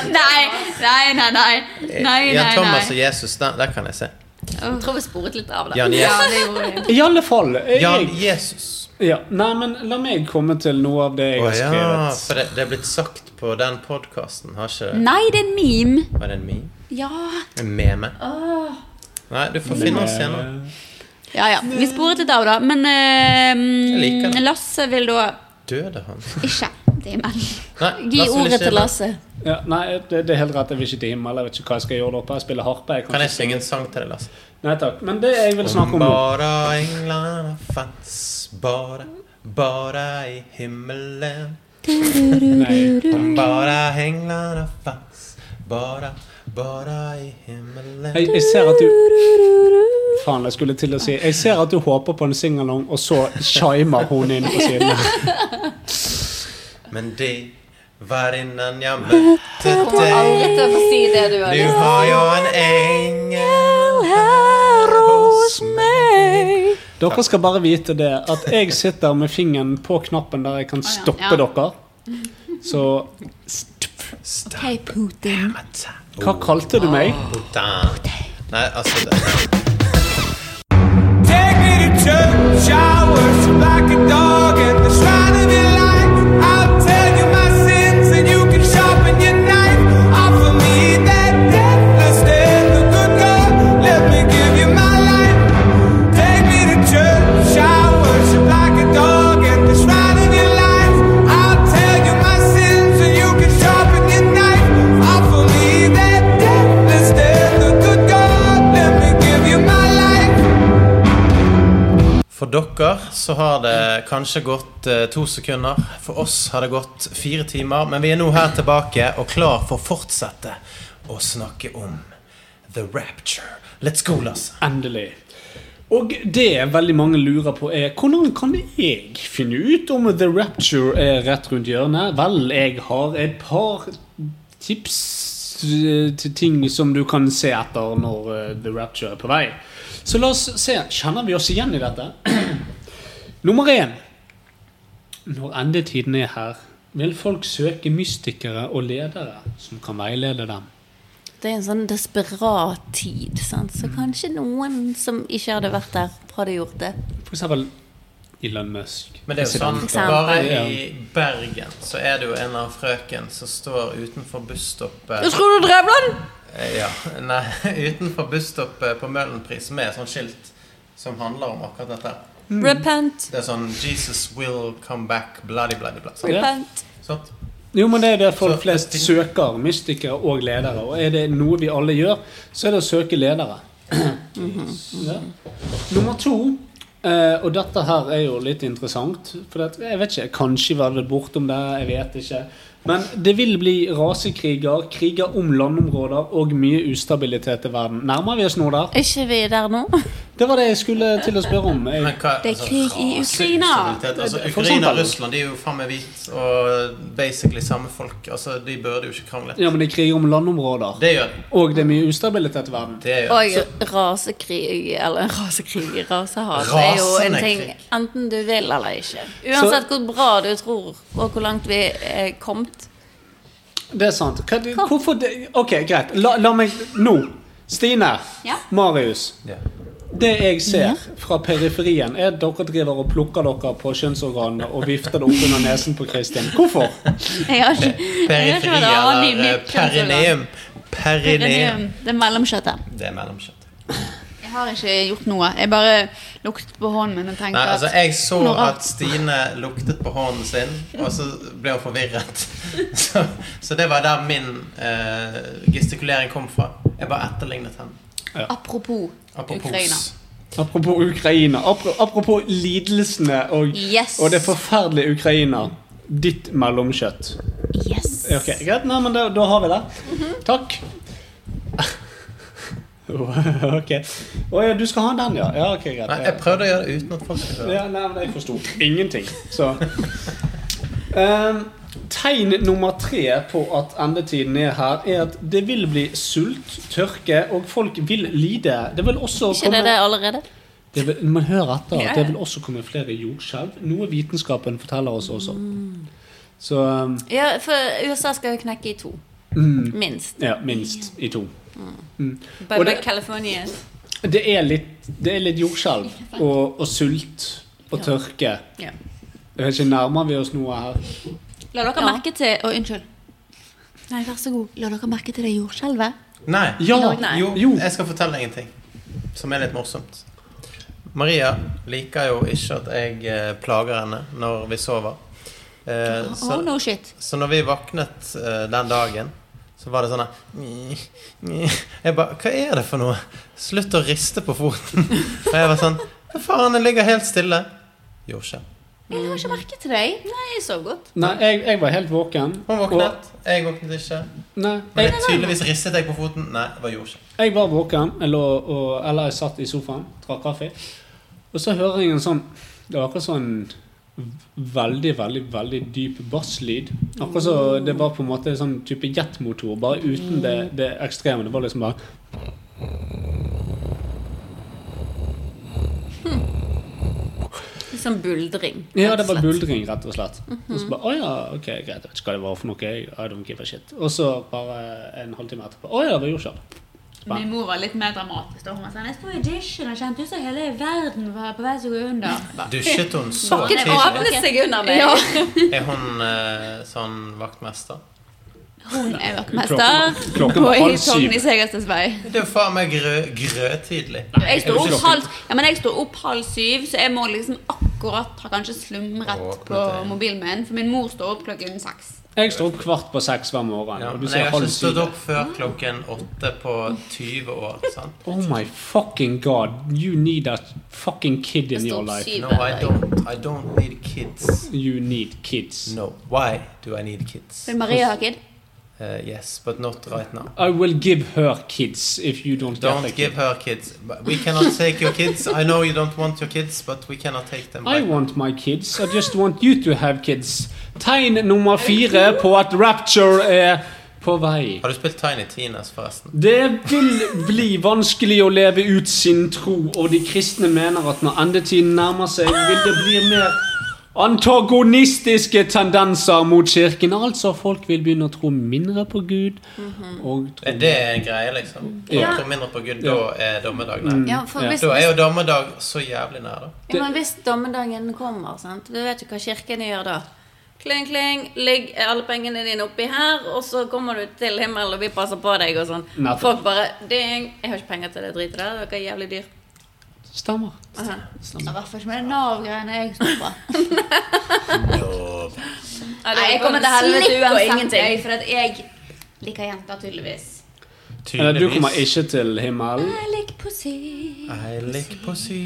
Speaker 5: Nei, nei, nei, nei. Nei,
Speaker 4: Jan
Speaker 5: nei,
Speaker 4: Thomas og
Speaker 5: nei.
Speaker 4: Jesus. Der, der kan jeg se.
Speaker 6: Jeg tror vi sporet litt av det.
Speaker 4: Jan,
Speaker 5: Ja,
Speaker 4: Jesus.
Speaker 5: det gjorde jeg.
Speaker 3: I alle fall. Jeg,
Speaker 4: Jan Jesus.
Speaker 3: ja. Nei, men la meg komme til noe av det jeg
Speaker 4: Å
Speaker 3: har
Speaker 4: ja,
Speaker 3: skrevet.
Speaker 4: for det, det er blitt sagt på den podkasten, har ikke det?
Speaker 5: Nei, det er en meme.
Speaker 4: Var det en meme?
Speaker 5: Ja.
Speaker 4: En meme? Nei, du får finne oss senere.
Speaker 5: Ja, ja. Vi sporet litt av da, men eh,
Speaker 4: Jeg liker det.
Speaker 5: Lasse vil da
Speaker 4: Døde han?
Speaker 5: ikke til himmelen.
Speaker 4: Nei,
Speaker 6: Gi
Speaker 4: Lasse vil
Speaker 6: ordet
Speaker 4: ikke
Speaker 6: til
Speaker 4: inn.
Speaker 6: Lasse.
Speaker 3: Ja, nei, det, det er helt rett. Jeg vil ikke til himmelen. Jeg vet ikke hva jeg skal gjøre der oppe. Jeg spiller harpe. Jeg
Speaker 4: Kan jeg
Speaker 3: ikke
Speaker 4: synge en sang til deg, Lasse?
Speaker 3: Nei takk. Men det jeg vil
Speaker 4: Om
Speaker 3: snakke om nå
Speaker 4: Bara englarna fanns bara, bara i himmelen.
Speaker 3: Nei.
Speaker 4: Om Bara englarna fanns bara, bara i himmelen.
Speaker 3: Jeg, jeg ser at du Faen, jeg skulle til å si Jeg ser at du håper på en singalong, og så shimer hun inn på siden.
Speaker 4: Men det var innan jeg møtte deg.
Speaker 6: Dette får si det du har
Speaker 4: Nu
Speaker 6: lyst
Speaker 4: har jag en ängel här hos mig
Speaker 3: Dere skal bare vite det at jeg sitter med fingeren på knappen der jeg kan stoppe
Speaker 5: Ja.
Speaker 3: dere. Så
Speaker 5: Hei, Putin.
Speaker 3: hva kalte du meg?
Speaker 4: Putain. Nej, alltså altså, det.
Speaker 9: Take me to church, I worship like a dog at the shrine of your life. I'll tell you my sins and you can sharpen your knife. Offer me that deathless death, the good God. Let me give you my life. Take me to church, I worship like a dog at the shrine of your life. I'll tell you my sins and you can sharpen your knife. Offer me that deathless death, the good God. Let me give you my life.
Speaker 4: For dere så har det kanskje gått eh, to sekunder. For oss har det gått fire timer. Men vi er nå her tilbake og klar for å fortsette å snakke om The Rapture. Let's go, Lasse.
Speaker 3: Endelig. Og det veldig mange lurer på, er hvordan kan jeg finne ut om The Rapture er rett rundt hjørnet? Vel, jeg har et par tips t- til ting som du kan se etter når eh, The Rapture er på vei. Så la oss se. Kjenner vi oss igjen i dette? Nummer én. Når endetiden er her, vil folk søke mystikere og ledere som kan veilede dem.
Speaker 6: Det er en sånn desperat tid, sant? så kanskje noen som ikke hadde vært der, hadde gjort det.
Speaker 3: For eksempel Elon Musk.
Speaker 4: Men det er jo sånn,
Speaker 6: For eksempel.
Speaker 4: bare i Bergen så er det jo en eller annen frøken som står utenfor busstoppet
Speaker 6: tror du drev den?
Speaker 4: Eh, Ja, nei, utenfor busstoppet på Møhlenpris med et sånt skilt som handler om akkurat dette.
Speaker 6: Repent.
Speaker 4: Det er sånn 'Jesus will come back', bloody, bloody, bloody. Sant?
Speaker 3: Ja.
Speaker 6: Repent.
Speaker 4: Sant?
Speaker 3: Jo, men det er det folk
Speaker 4: Så-
Speaker 3: flest søker. Mystikere og ledere. Og er det noe vi alle gjør, så er det å søke ledere.
Speaker 4: Mhm.
Speaker 3: ja. Nummer to, eh, og dette her er jo litt interessant For det, jeg vet ikke, kanskje var det bortom det, jeg vet ikke. Men det vil bli rasekriger, kriger om landområder og mye ustabilitet i verden. Nærmer vi oss nå der?
Speaker 6: Er ikke vi der nå?
Speaker 3: Det var det jeg skulle til å spørre om. Jeg,
Speaker 4: Men hva,
Speaker 6: Det er krig
Speaker 4: rase-
Speaker 6: i Ukraina.
Speaker 4: ustabilitet. Altså,
Speaker 3: For
Speaker 4: Ukraina og
Speaker 3: eksempel.
Speaker 4: Russland de er jo faen meg hvite og basically samme folk. Altså, De burde jo ikke krangle.
Speaker 3: ja, men det er kriger om landområder.
Speaker 4: Det gjør
Speaker 3: Og det er mye ustabilitet i verden.
Speaker 4: det. gjør
Speaker 6: Og rasekrig, eller rasekrig, rasehat er jo en
Speaker 4: Rasende
Speaker 6: ting
Speaker 4: krig.
Speaker 6: enten du vil eller ikke. Uansett hvor bra du tror, og hvor langt vi er kommet.
Speaker 3: Det er sant. Hva, det- hvorfor det Ok, greit. La, la meg Nå. Stine.
Speaker 5: Ja.
Speaker 3: Marius.
Speaker 4: Ja.
Speaker 3: Det jeg ser fra periferien, er at dere driver og plukker dere på kjønnsorganene og vifter det opp under nesen på Kristin. Hvorfor?
Speaker 5: Jeg har ikke, jeg har ikke
Speaker 4: Periferi
Speaker 5: vært annen i
Speaker 4: eller eh,
Speaker 5: mitt kjønnsorgan.
Speaker 4: perineum. Perineum.
Speaker 5: Perineum. Det er mellomkjøttet.
Speaker 4: Det er mellomkjøtt.
Speaker 5: Jeg har ikke gjort noe. Jeg bare luktet på hånden min og tenkte
Speaker 4: Nei, altså, jeg så
Speaker 5: Noe rart.
Speaker 4: at Stine luktet på hånden sin, og så ble hun forvirret. Så, så det var der min eh, gestikulering kom fra. Jeg bare etterlignet henne.
Speaker 5: at apropos, Ukraina.
Speaker 4: Apropos.
Speaker 3: Apropos Ukraina. Apro- Apropos lidelsene og,
Speaker 5: Yes.
Speaker 3: og det forferdelige Ukraina. Ditt mellomkjøtt.
Speaker 4: Eh,
Speaker 5: Yes.
Speaker 3: Ok, greit. Nei, men da, da har vi det.
Speaker 5: Mhm.
Speaker 3: Takk. ok. Å ja, du skal ha den, ja? Ja, ok, greit.
Speaker 4: Nei, jeg prøvde å gjøre det uten at folk skulle høre.
Speaker 3: Ja, nei, men jeg forsto ingenting. Så. Ehm, tegn nummer tre på at endetiden er her, er at det vil bli sult, tørke, og folk vil lide. Det vil også
Speaker 6: Ikke det det allerede?
Speaker 3: det vil, men hør etter. Det vil også komme flere jordskjelv. Noe vitenskapen forteller oss også. Så ehm, mm,
Speaker 6: Ja, for USA skal jo knekke i to. Minst.
Speaker 3: ja, minst i to.
Speaker 6: Bare
Speaker 3: Og det-
Speaker 6: California.
Speaker 3: Det er litt, det er litt jordskjelv og, og sult og tørke.
Speaker 6: Ja.
Speaker 3: Jeg vet ikke, Nærmer vi oss noe her?
Speaker 5: La dere
Speaker 6: Ja.
Speaker 5: merke til Å, unnskyld. Nei, vær så god. La dere merke til det jordskjelvet?
Speaker 4: Nei.
Speaker 3: Ja,
Speaker 6: Nei.
Speaker 4: Jo,
Speaker 3: Jo.
Speaker 4: jeg skal fortelle deg en ting som er litt morsomt. Maria liker jo ikke at jeg eh, plager henne når vi sover. Eh,
Speaker 5: Oh, no shit.
Speaker 4: Så når vi våknet eh, den dagen, så var det sånn her «Nyi, nyi». Jeg bare Hva er det for noe? Slutt å riste på foten. Og jeg var sånn Hva faen, den ligger helt stille. Jordskjelv.
Speaker 5: Jeg har ikke merket til deg.
Speaker 6: Nei, jeg sov godt.
Speaker 3: Nei, jeg, jeg var helt våken.
Speaker 4: Hun våknet, jeg våknet ikke.
Speaker 3: Og, nei,
Speaker 4: Men
Speaker 3: jeg,
Speaker 4: jeg tydeligvis ristet jeg på foten. Nei, det var jordskjelv.
Speaker 3: Jeg var våken, jeg lå, og, eller jeg satt i sofaen, drakk kaffe. Og så hører jeg en sånn Det var akkurat sånn veldig, veldig veldig dyp basslyd. Akkurat så det var på en måte sånn type jetmotor, bare uten det, det ekstreme. Det var liksom bare
Speaker 6: Litt sånn buldring.
Speaker 3: Ja,
Speaker 6: rett
Speaker 3: det
Speaker 6: og
Speaker 3: var
Speaker 6: slett.
Speaker 3: buldring, rett og slett. Og så bare Å ja, ok, greit, jeg vet ikke hva det var for noe. Jeg, I don't give a shit. Og så bare en halvtime etterpå Å ja, det var jordskjelv.
Speaker 5: Min mor var litt mer dramatisk. da Hun var sånn Jeg sto i audition og kjente ut som hele verden var på vei til å gå under. Bare,
Speaker 4: Dusjet hun så
Speaker 5: Bakken
Speaker 6: Bakken
Speaker 4: tidlig?
Speaker 6: åpnet seg under meg.
Speaker 5: Ja.
Speaker 4: Er hun eh, sånn vaktmester?
Speaker 5: Hun er vaktmester
Speaker 3: Klokken
Speaker 5: på
Speaker 3: var
Speaker 5: i
Speaker 3: halv syv.
Speaker 5: Togny Segersteds vei.
Speaker 4: Det er jo faen meg grø, grøtidlig.
Speaker 5: Jeg står,
Speaker 3: er du
Speaker 5: opp
Speaker 3: klokken?
Speaker 5: halv, ja, men jeg står opp halv syv, så jeg må liksom akkurat ha kanskje slumret
Speaker 4: Åpnet
Speaker 5: på
Speaker 4: øynene.
Speaker 5: mobilen min. For min mor står opp klokken seks.
Speaker 3: Jeg står opp kvart på seks hver morgen.
Speaker 4: Ja,
Speaker 3: og du
Speaker 4: men
Speaker 3: ser
Speaker 4: jeg har
Speaker 3: halv
Speaker 4: ikke stått
Speaker 3: syv.
Speaker 4: opp før klokken åtte på 20 år. sant?
Speaker 3: Oh my fucking god, you need that fucking kid in
Speaker 6: Det
Speaker 3: your
Speaker 6: stod
Speaker 3: life.
Speaker 6: syv
Speaker 4: No,
Speaker 6: hver
Speaker 4: I
Speaker 6: dag.
Speaker 4: don't. I don't need kids.
Speaker 3: You need kids.
Speaker 4: No. Why do I need kids?
Speaker 5: Vil Maria ha kid?
Speaker 4: Uh, yes, but not right now.
Speaker 3: I will give her kids if you don't, get a
Speaker 4: Don't
Speaker 3: kid.
Speaker 4: give her kids. But We cannot take your kids. I know you don't want your kids, but we cannot take them.
Speaker 3: I
Speaker 4: back.
Speaker 3: want my kids. I just want you to have kids. Tegn nummer fire på at rapture er på vei.
Speaker 4: Har du spilt Tiny Tinas, forresten?
Speaker 3: Det vil bli vanskelig å leve ut sin tro, og de kristne mener at når endetiden nærmer seg, vil det bli mer antagonistiske tendenser mot kirken. Altså, folk vil begynne å tro mindre på Gud. Og Eh, tro
Speaker 4: Er det en greie, liksom?
Speaker 3: Ja.
Speaker 4: Ja. Tror mindre på Gud, da er dommedag nær.
Speaker 6: Ja, for
Speaker 3: Ja.
Speaker 6: hvis,
Speaker 4: Da er jo dommedag så jævlig nær, da.
Speaker 6: ja, men hvis dommedagen kommer, sant? du vet jo hva kirken gjør da. Kling, kling, ligg alle pengene dine oppi her, og så kommer du til himmelen, og vi passer på deg og sånn.
Speaker 3: Nettopp.
Speaker 6: Folk bare ding, jeg har ikke penger til det dritet der, dere er jævlig dyr.
Speaker 3: Stemmer.
Speaker 6: Aha.
Speaker 5: I hvert fall ikke med det Nav-greiene jeg står på.
Speaker 6: Ja, det
Speaker 5: Nei, jeg
Speaker 6: var
Speaker 5: kommer til helvete
Speaker 6: slikk og
Speaker 5: uansett,
Speaker 6: ingenting.
Speaker 5: jeg, for at jeg liker jenter, tydeligvis.
Speaker 3: Eh, Du kommer
Speaker 4: Tydeligvis.
Speaker 3: ikke til himmelen.
Speaker 5: Jeg liker pussy.
Speaker 4: I like pussy.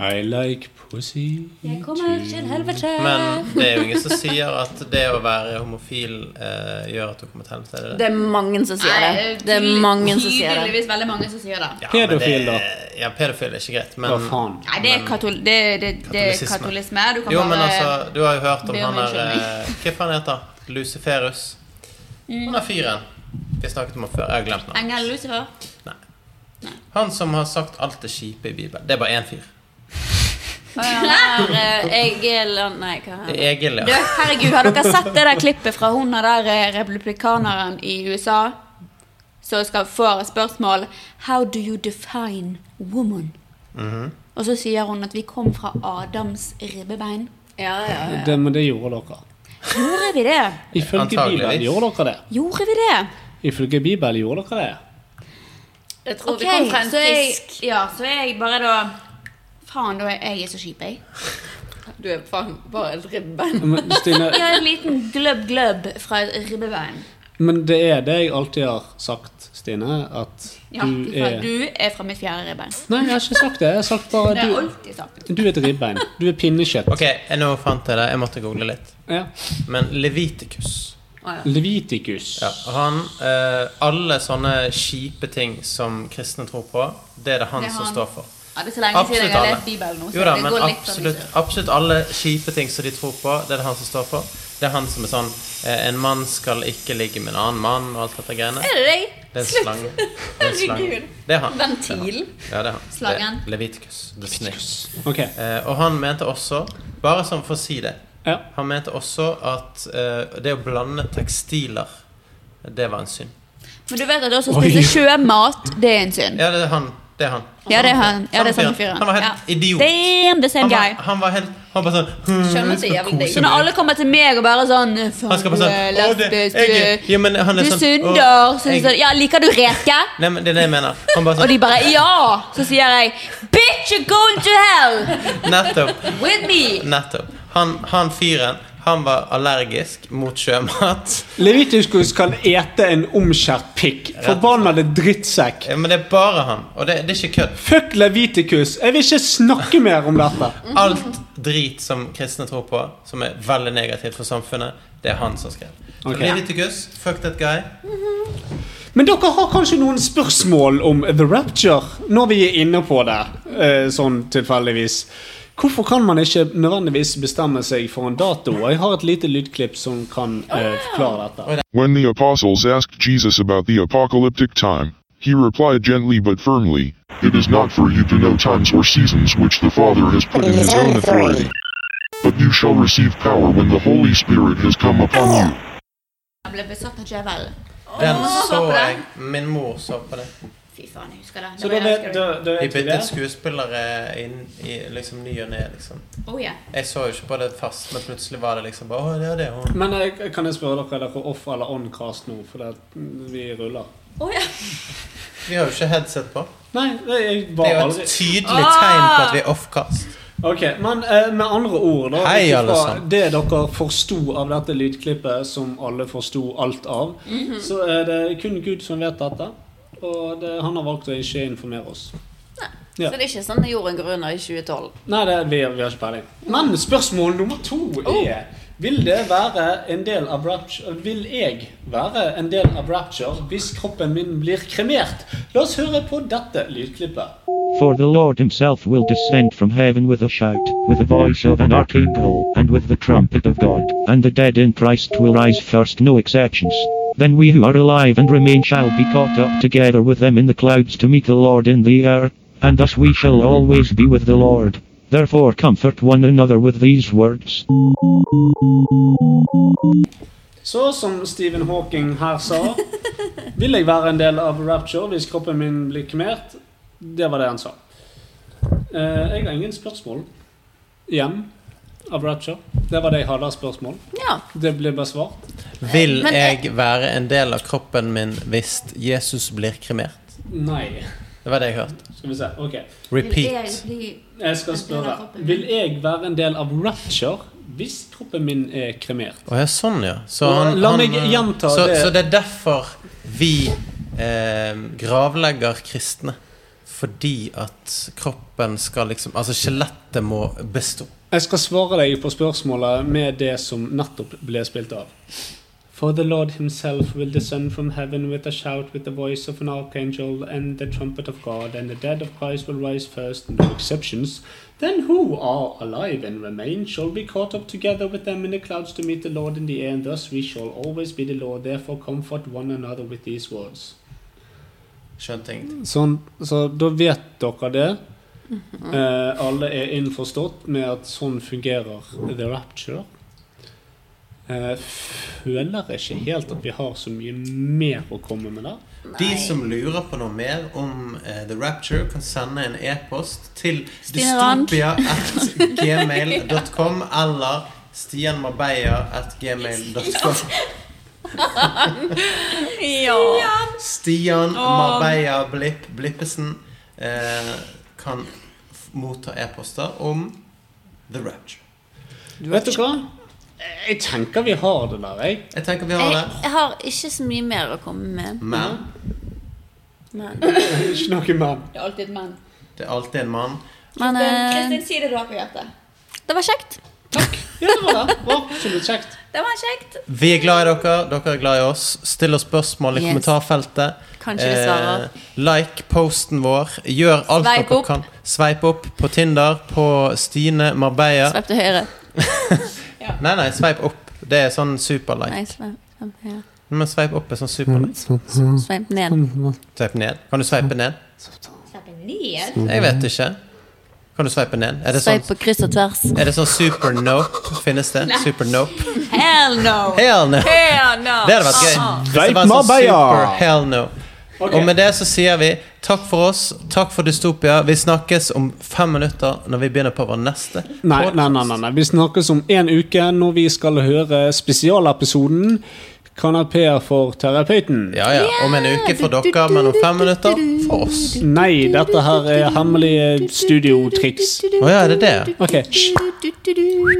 Speaker 3: I like pussy.
Speaker 5: Jeg kommer til helvete.
Speaker 4: Men det er jo ingen som sier at det å være homofil eh, gjør at du kommer til helvete. Er det det?
Speaker 6: Det er mange som sier det. Det er
Speaker 5: tydelig-
Speaker 6: mange som sier det.
Speaker 5: Tydeligvis veldig mange som sier det.
Speaker 4: Ja, men det-
Speaker 3: Pedofil, da.
Speaker 4: Ja, pedofil er ikke greit, men
Speaker 3: Hva faen?
Speaker 5: Nei, det er, katol det, det, det er
Speaker 4: Katolisisme.
Speaker 5: katolisme. Du kan
Speaker 4: Jo, men
Speaker 5: bare
Speaker 4: altså, du har jo hørt om
Speaker 5: be om
Speaker 4: han der
Speaker 5: unnskyldning. Mm.
Speaker 4: eh, Hva faen heter han? Luciferus. Han er fyren vi snakket om han før. Jeg har glemt navnet.
Speaker 5: Engel Lucifer.
Speaker 4: Han som har sagt alt det kjipe i Bibelen. Det er bare én fyr.
Speaker 6: Her, eh, Egil og- Nei, hva
Speaker 4: Det
Speaker 6: er det?
Speaker 4: er Egil,
Speaker 5: Du,
Speaker 4: ja.
Speaker 5: herregud, har dere sett det der klippet fra hun der eh, republikaneren i USA? Som skal få et spørsmål How do you define woman?
Speaker 3: Mhm.
Speaker 5: Og så sier hun at vi kom fra Adams ribbebein.
Speaker 6: Ja, ja, ja.
Speaker 3: Det, men det gjorde dere.
Speaker 5: Gjorde vi det?
Speaker 3: Ifølge
Speaker 4: Antageligvis.
Speaker 3: Bibelen gjorde dere det.
Speaker 5: Gjorde vi det?
Speaker 3: Ifølge Bibelen gjorde dere det.
Speaker 6: Jeg tror
Speaker 5: Ok,
Speaker 6: vi kom fra en
Speaker 5: så jeg,
Speaker 6: fisk.
Speaker 5: ja, så jeg bare da Faen, da er jeg så kjip, jeg.
Speaker 6: Du er faen bare en ribben.
Speaker 3: Men, Stine,
Speaker 5: Jeg er en liten gløbb-gløbb fra et ribbebein.
Speaker 3: men det er det jeg alltid har sagt, Stine, at
Speaker 5: Ja,
Speaker 3: du
Speaker 5: fra,
Speaker 3: er
Speaker 5: du er fra mitt fjerde ribbein.
Speaker 3: Nei, jeg har ikke sagt det. Jeg har sagt bare
Speaker 5: Det er
Speaker 3: du,
Speaker 5: alltid sånn. sagt.
Speaker 3: du er et ribbein. Du er pinnekjøtt.
Speaker 4: Ok, jeg nå fant jeg det. Jeg måtte google litt.
Speaker 3: Ja.
Speaker 4: Men Levitikus
Speaker 3: Leviticus.
Speaker 4: ja, han, eh, Alle sånne kjipe ting som kristne tror på, det er det han
Speaker 5: Det er
Speaker 4: som
Speaker 5: han.
Speaker 4: står for.
Speaker 5: Ja, det er så lenge siden jeg
Speaker 4: Absolutt
Speaker 5: har
Speaker 4: alle.
Speaker 5: lest Bibelen nå. Så
Speaker 4: Jo da,
Speaker 5: det
Speaker 4: men
Speaker 5: går litt for
Speaker 4: absolutt,
Speaker 5: mye.
Speaker 4: absolutt alle kjipe ting som de tror på, det er det han som står for. Det er han som er sånn eh, En mann skal ikke ligge med en annen mann og alt dette greiene.
Speaker 6: Er det deg?
Speaker 4: Det er en slange. Det er, en slange.
Speaker 6: Herregud.
Speaker 4: Det er han.
Speaker 6: Ventil.
Speaker 4: Ja, det er han.
Speaker 5: Slangen.
Speaker 4: Det er Leviticus. The snake.
Speaker 3: Ok.
Speaker 4: Eh, og han mente også, bare sånn for å si det
Speaker 3: Ja.
Speaker 4: Han mente også at eh, det å blande tekstiler, det var en synd.
Speaker 5: Men du vet at også å spise sjømat, det er en synd.
Speaker 4: Ja, det er han. Det er han.
Speaker 5: Ja, det er han. Ja, det er
Speaker 4: fyren.
Speaker 5: samme fyren.
Speaker 4: Han var helt
Speaker 5: ja.
Speaker 4: idiot.
Speaker 5: Damn, the same
Speaker 4: Han
Speaker 5: guy.
Speaker 4: var, han var helt Han var bare sånn «Hm,
Speaker 6: Skjønner
Speaker 4: jeg
Speaker 6: så
Speaker 4: skal
Speaker 6: jævlig
Speaker 4: kose
Speaker 6: digg.
Speaker 5: Så når alle kommer til meg og bare sånn
Speaker 4: Han skal bare sånn «Å, det- jeg- ja, men han er
Speaker 5: Du
Speaker 4: sånn, «Å,
Speaker 5: synder. Så sier
Speaker 4: jeg-
Speaker 5: de sånn, ja, liker du reker?
Speaker 4: Nei, men det er det jeg mener. Han bare
Speaker 5: Og de
Speaker 4: sånn
Speaker 5: bare ja! Så sier jeg bitch, you're going to hell
Speaker 4: Nettopp.
Speaker 5: with me!
Speaker 4: Nettopp. Han, han fyren, han var allergisk mot sjømat.
Speaker 3: Leviticus kan ete en omskjært pikk. Forbannede drittsekk.
Speaker 4: Ja, Men det er bare han. Og det, det er ikke kødd.
Speaker 3: Fuck Leviticus! Jeg vil ikke snakke mer om dette.
Speaker 4: Alt drit som kristne tror på, som er veldig negativt for samfunnet, det er han som skrev. Så
Speaker 3: Ok.
Speaker 4: Leviticus, fuck that guy.
Speaker 3: Men dere har kanskje noen spørsmål om The Rapture, når vi er inne på det, eh, sånn tilfeldigvis. Hvorfor kan man ikke nødvendigvis bestemme seg for en dato? Og Jeg har et lite lydklipp som kan eh, forklare dette.
Speaker 10: When the apostles asked Jesus about the apocalyptic time, he replied gently but firmly, It is not for you to know times or seasons which the Father has put in his own authority. But you shall receive power when the Holy Spirit has come upon you.
Speaker 5: Jeg ble besatt av djevel.
Speaker 4: Den så
Speaker 5: på det.
Speaker 4: jeg. Min mor så på det.
Speaker 5: Fy faen, jeg husker det.
Speaker 3: Så da vet, da, da
Speaker 4: De
Speaker 3: vet vi
Speaker 4: byttet
Speaker 3: det.
Speaker 4: skuespillere inn i liksom ny og ne, liksom.
Speaker 5: Oh, yeah.
Speaker 4: Jeg så jo ikke på det først, men plutselig var det liksom bare Å, det er det hun
Speaker 3: Men eh, kan jeg spørre dere, er dere off eller on cast nå? For det, vi ruller.
Speaker 4: Vi har jo ikke headset på.
Speaker 3: Nei, jeg
Speaker 4: Det
Speaker 3: var
Speaker 4: er jo
Speaker 3: aldri
Speaker 4: et tydelig tegn på at vi er offcast.
Speaker 3: Ok, men eh, med andre ord da,
Speaker 4: Hei,
Speaker 3: ut ifra
Speaker 4: alle sammen.
Speaker 3: Det dere forsto av dette lydklippet Som alle forsto alt av Så er det kun Gud som vet dette Og det, han har valgt å ikke informere oss Ja.
Speaker 6: Så det er ikke sånn at jorden går under i 2012.
Speaker 3: Nei, det, vi, vi har ikke peiling. Men spørsmål nummer to er Vil det være en del av rapture Vil jeg være en del av rapture Hvis kroppen min blir kremert? La oss høre på dette lydklippet
Speaker 11: For the Lord himself will descend from heaven with a shout, with the voice of an archangel, and with the trumpet of God, and the dead in Christ will rise first, no exceptions. Then we who are alive and remain shall be caught up together with them in the clouds to meet the Lord in the air, and thus we shall always be with the Lord. Therefore comfort one another with these words.
Speaker 3: Så som Stephen Hawking her sa, vil jeg være en del av Rapture hvis kroppen min blir kremert. Det var det han sa. Eh, jeg har ingen spørsmål igjen av Rapture. Det var det jeg hadde av spørsmål. Det ble besvart.
Speaker 4: Vil
Speaker 3: Men-
Speaker 4: jeg være en del av kroppen min hvis Jesus blir kremert?
Speaker 3: Nei.
Speaker 4: Det var det jeg hørte.
Speaker 3: Skal vi se. Ok.
Speaker 4: Repeat.
Speaker 3: Jeg skal spørre. Vil jeg være en del av Rapture hvis kroppen min er kremert?
Speaker 4: Å ja, sånn, ja. Så,
Speaker 3: Og
Speaker 4: han,
Speaker 3: la
Speaker 4: han, eh,
Speaker 3: meg gjenta
Speaker 4: så,
Speaker 3: det.
Speaker 4: Så det er derfor vi eh, gravlegger kristne. Fordi at kroppen skal liksom Altså, skjelettet må bestå.
Speaker 3: Jeg skal svare deg på spørsmålet med det som nettopp ble spilt av. For the Lord himself will descend from heaven with a shout, with the voice of an archangel, and the trumpet of God, and the dead of Christ will rise first, no exceptions. Then who are alive and remain shall be caught up together with them in the clouds to meet the Lord in the air, and thus we shall always be the Lord. Therefore comfort one another with these words.
Speaker 4: Skjønte jeg.
Speaker 3: Sånn, så da vet dere det. Eh, alle er innforstått med at sånn fungerer The Rapture. Eh, føler ikke helt at vi har så mye mer å komme med der.
Speaker 4: De som lurer på noe mer om eh, The Rapture, kan sende en e-post til
Speaker 3: Stine Rand.
Speaker 4: dystopia.gmail.com eller stianmabeia.gmail.com.
Speaker 6: ja.
Speaker 4: Stian
Speaker 6: Åh.
Speaker 4: Mabeia Blipp Blippesen eh, kan f- motta e-poster om The Rapture.
Speaker 3: Vet du hva? Jeg tenker vi har det der, jeg.
Speaker 4: Jeg tenker vi
Speaker 6: Jeg, jeg har ikke så mye mer å komme med.
Speaker 4: Men
Speaker 6: Men.
Speaker 3: Ikke noe men.
Speaker 5: Det er alltid et men.
Speaker 4: Det er alltid en mann.
Speaker 6: Men, eh,
Speaker 5: Kristin, si det du har på hjertet.
Speaker 6: Det var kjekt.
Speaker 3: Ja, det var det. Det var absolutt kjekt.
Speaker 6: Det var kjekt.
Speaker 4: Vi er glad i dere, dere er glad i oss. Still oss spørsmål i
Speaker 6: Yes.
Speaker 4: kommentarfeltet. Eh,
Speaker 6: Kanskje vi svarer.
Speaker 4: like posten vår. Gjør alt
Speaker 6: Sveip
Speaker 4: dere
Speaker 6: opp.
Speaker 4: kan. Sveip opp på Tinder, på Stine Marbella.
Speaker 6: Sveip til høyre.
Speaker 4: Nei, nei, sveip opp. Det er sånn superlike.
Speaker 6: Nei, sveip sveip til høyre.
Speaker 4: Men sveip opp er sånn superlike.
Speaker 6: Sveip ned.
Speaker 4: Sveip ned. Kan du sveipe ned? Jeg
Speaker 6: Jeg
Speaker 4: vet ikke. Kan du sveipe ned? Er det sånn,
Speaker 6: Sveip på kryss og tvers.
Speaker 4: er det sånn super nope? Finnes det?
Speaker 6: Nei.
Speaker 4: Super nope?
Speaker 6: Hell no!
Speaker 4: Hell no.
Speaker 6: Hell no.
Speaker 4: Det hadde vært gøy.
Speaker 6: Ah.
Speaker 4: Hvis det var en sånn super hell no.
Speaker 6: Ok.
Speaker 4: Og med det så sier vi takk for oss, takk for Dystopia. Vi snakkes om fem minutter når vi begynner på vår neste.
Speaker 3: Nei, nei, nei, nei, nei. Vi snakkes om én uke når vi skal høre spesialepisoden 'Kanapeer for terapeuten'.
Speaker 4: Ja, ja. Om en uke for dere, men om fem minutter for oss.
Speaker 3: Nei, dette her er hemmelige studiotriks.
Speaker 4: Å ja, er det det?
Speaker 3: Ok. Hysj.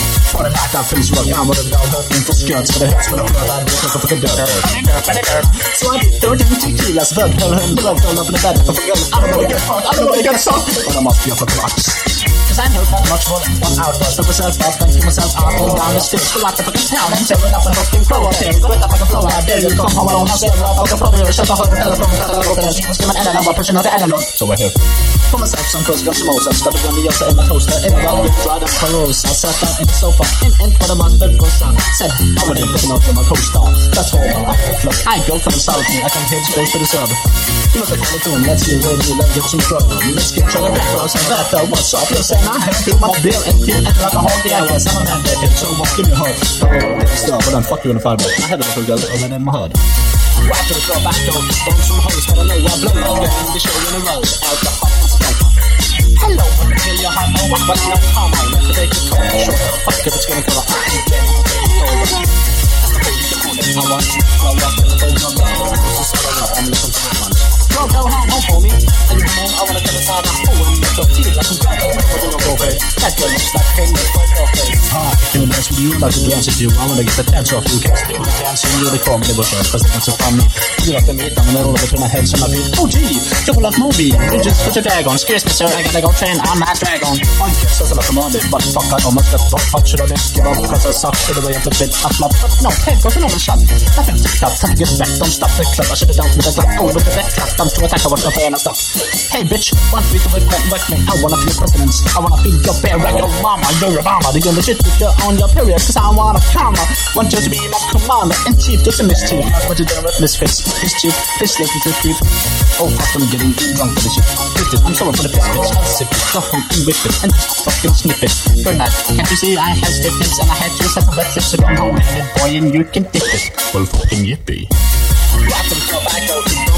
Speaker 9: Hello,
Speaker 12: hello. Kill your homo, but no homo. Look at they just call me short. Fuck if it's gonna kill a homo. I want you to grow up and go jump down. Just grow up and listen to my Go, go home, home, homie. And you know, I wanna get inside my fool and make your teeth like some jello. We're gonna go, babe. That girl looks like Kane, but fuck her face. Hi, can I dance with you? Like to dance with you. I wanna get the dance off you. Can't stay with the dance you. You're the formidable girl, cause that's so fun. You like the meat, I'm gonna roll it between my head, so my feet. Oh, gee, you love movie. You just put your bag on. Excuse me, sir, I gotta go train. I'm not dragon. One kiss is like a commanded, but fuck, I almost got fucked. Fuck, should I just give up? Cause I suck to the way of the bit. I'm not, but no, hey, go to normal shot. Nothing's up, time to get back. Don't stop the club. I should've done with the club. Oh, look at that club. I'm to attack. I want to play and I stop. Hey, bitch, one week of regret like me. I wanna be a president. I wanna be your bear, like your mama. You're a mama. You're legit with your own your period. Cause I want a comma. Want you to be my commander in chief. Just a mischief. What you doing with misfits? Mischief, fish, listen to creep. Oh, fuck, I'm getting drunk for this shit. Bitch, I'm sorry for the piss, bitch. I'll sip it. Go home and whip it. And just fucking snip it. Good night. Can't you see I have stiff lips and I had two sets of wet lips. So come home and boy and you can dip it. Well, fucking yippee. After the club, I go to throw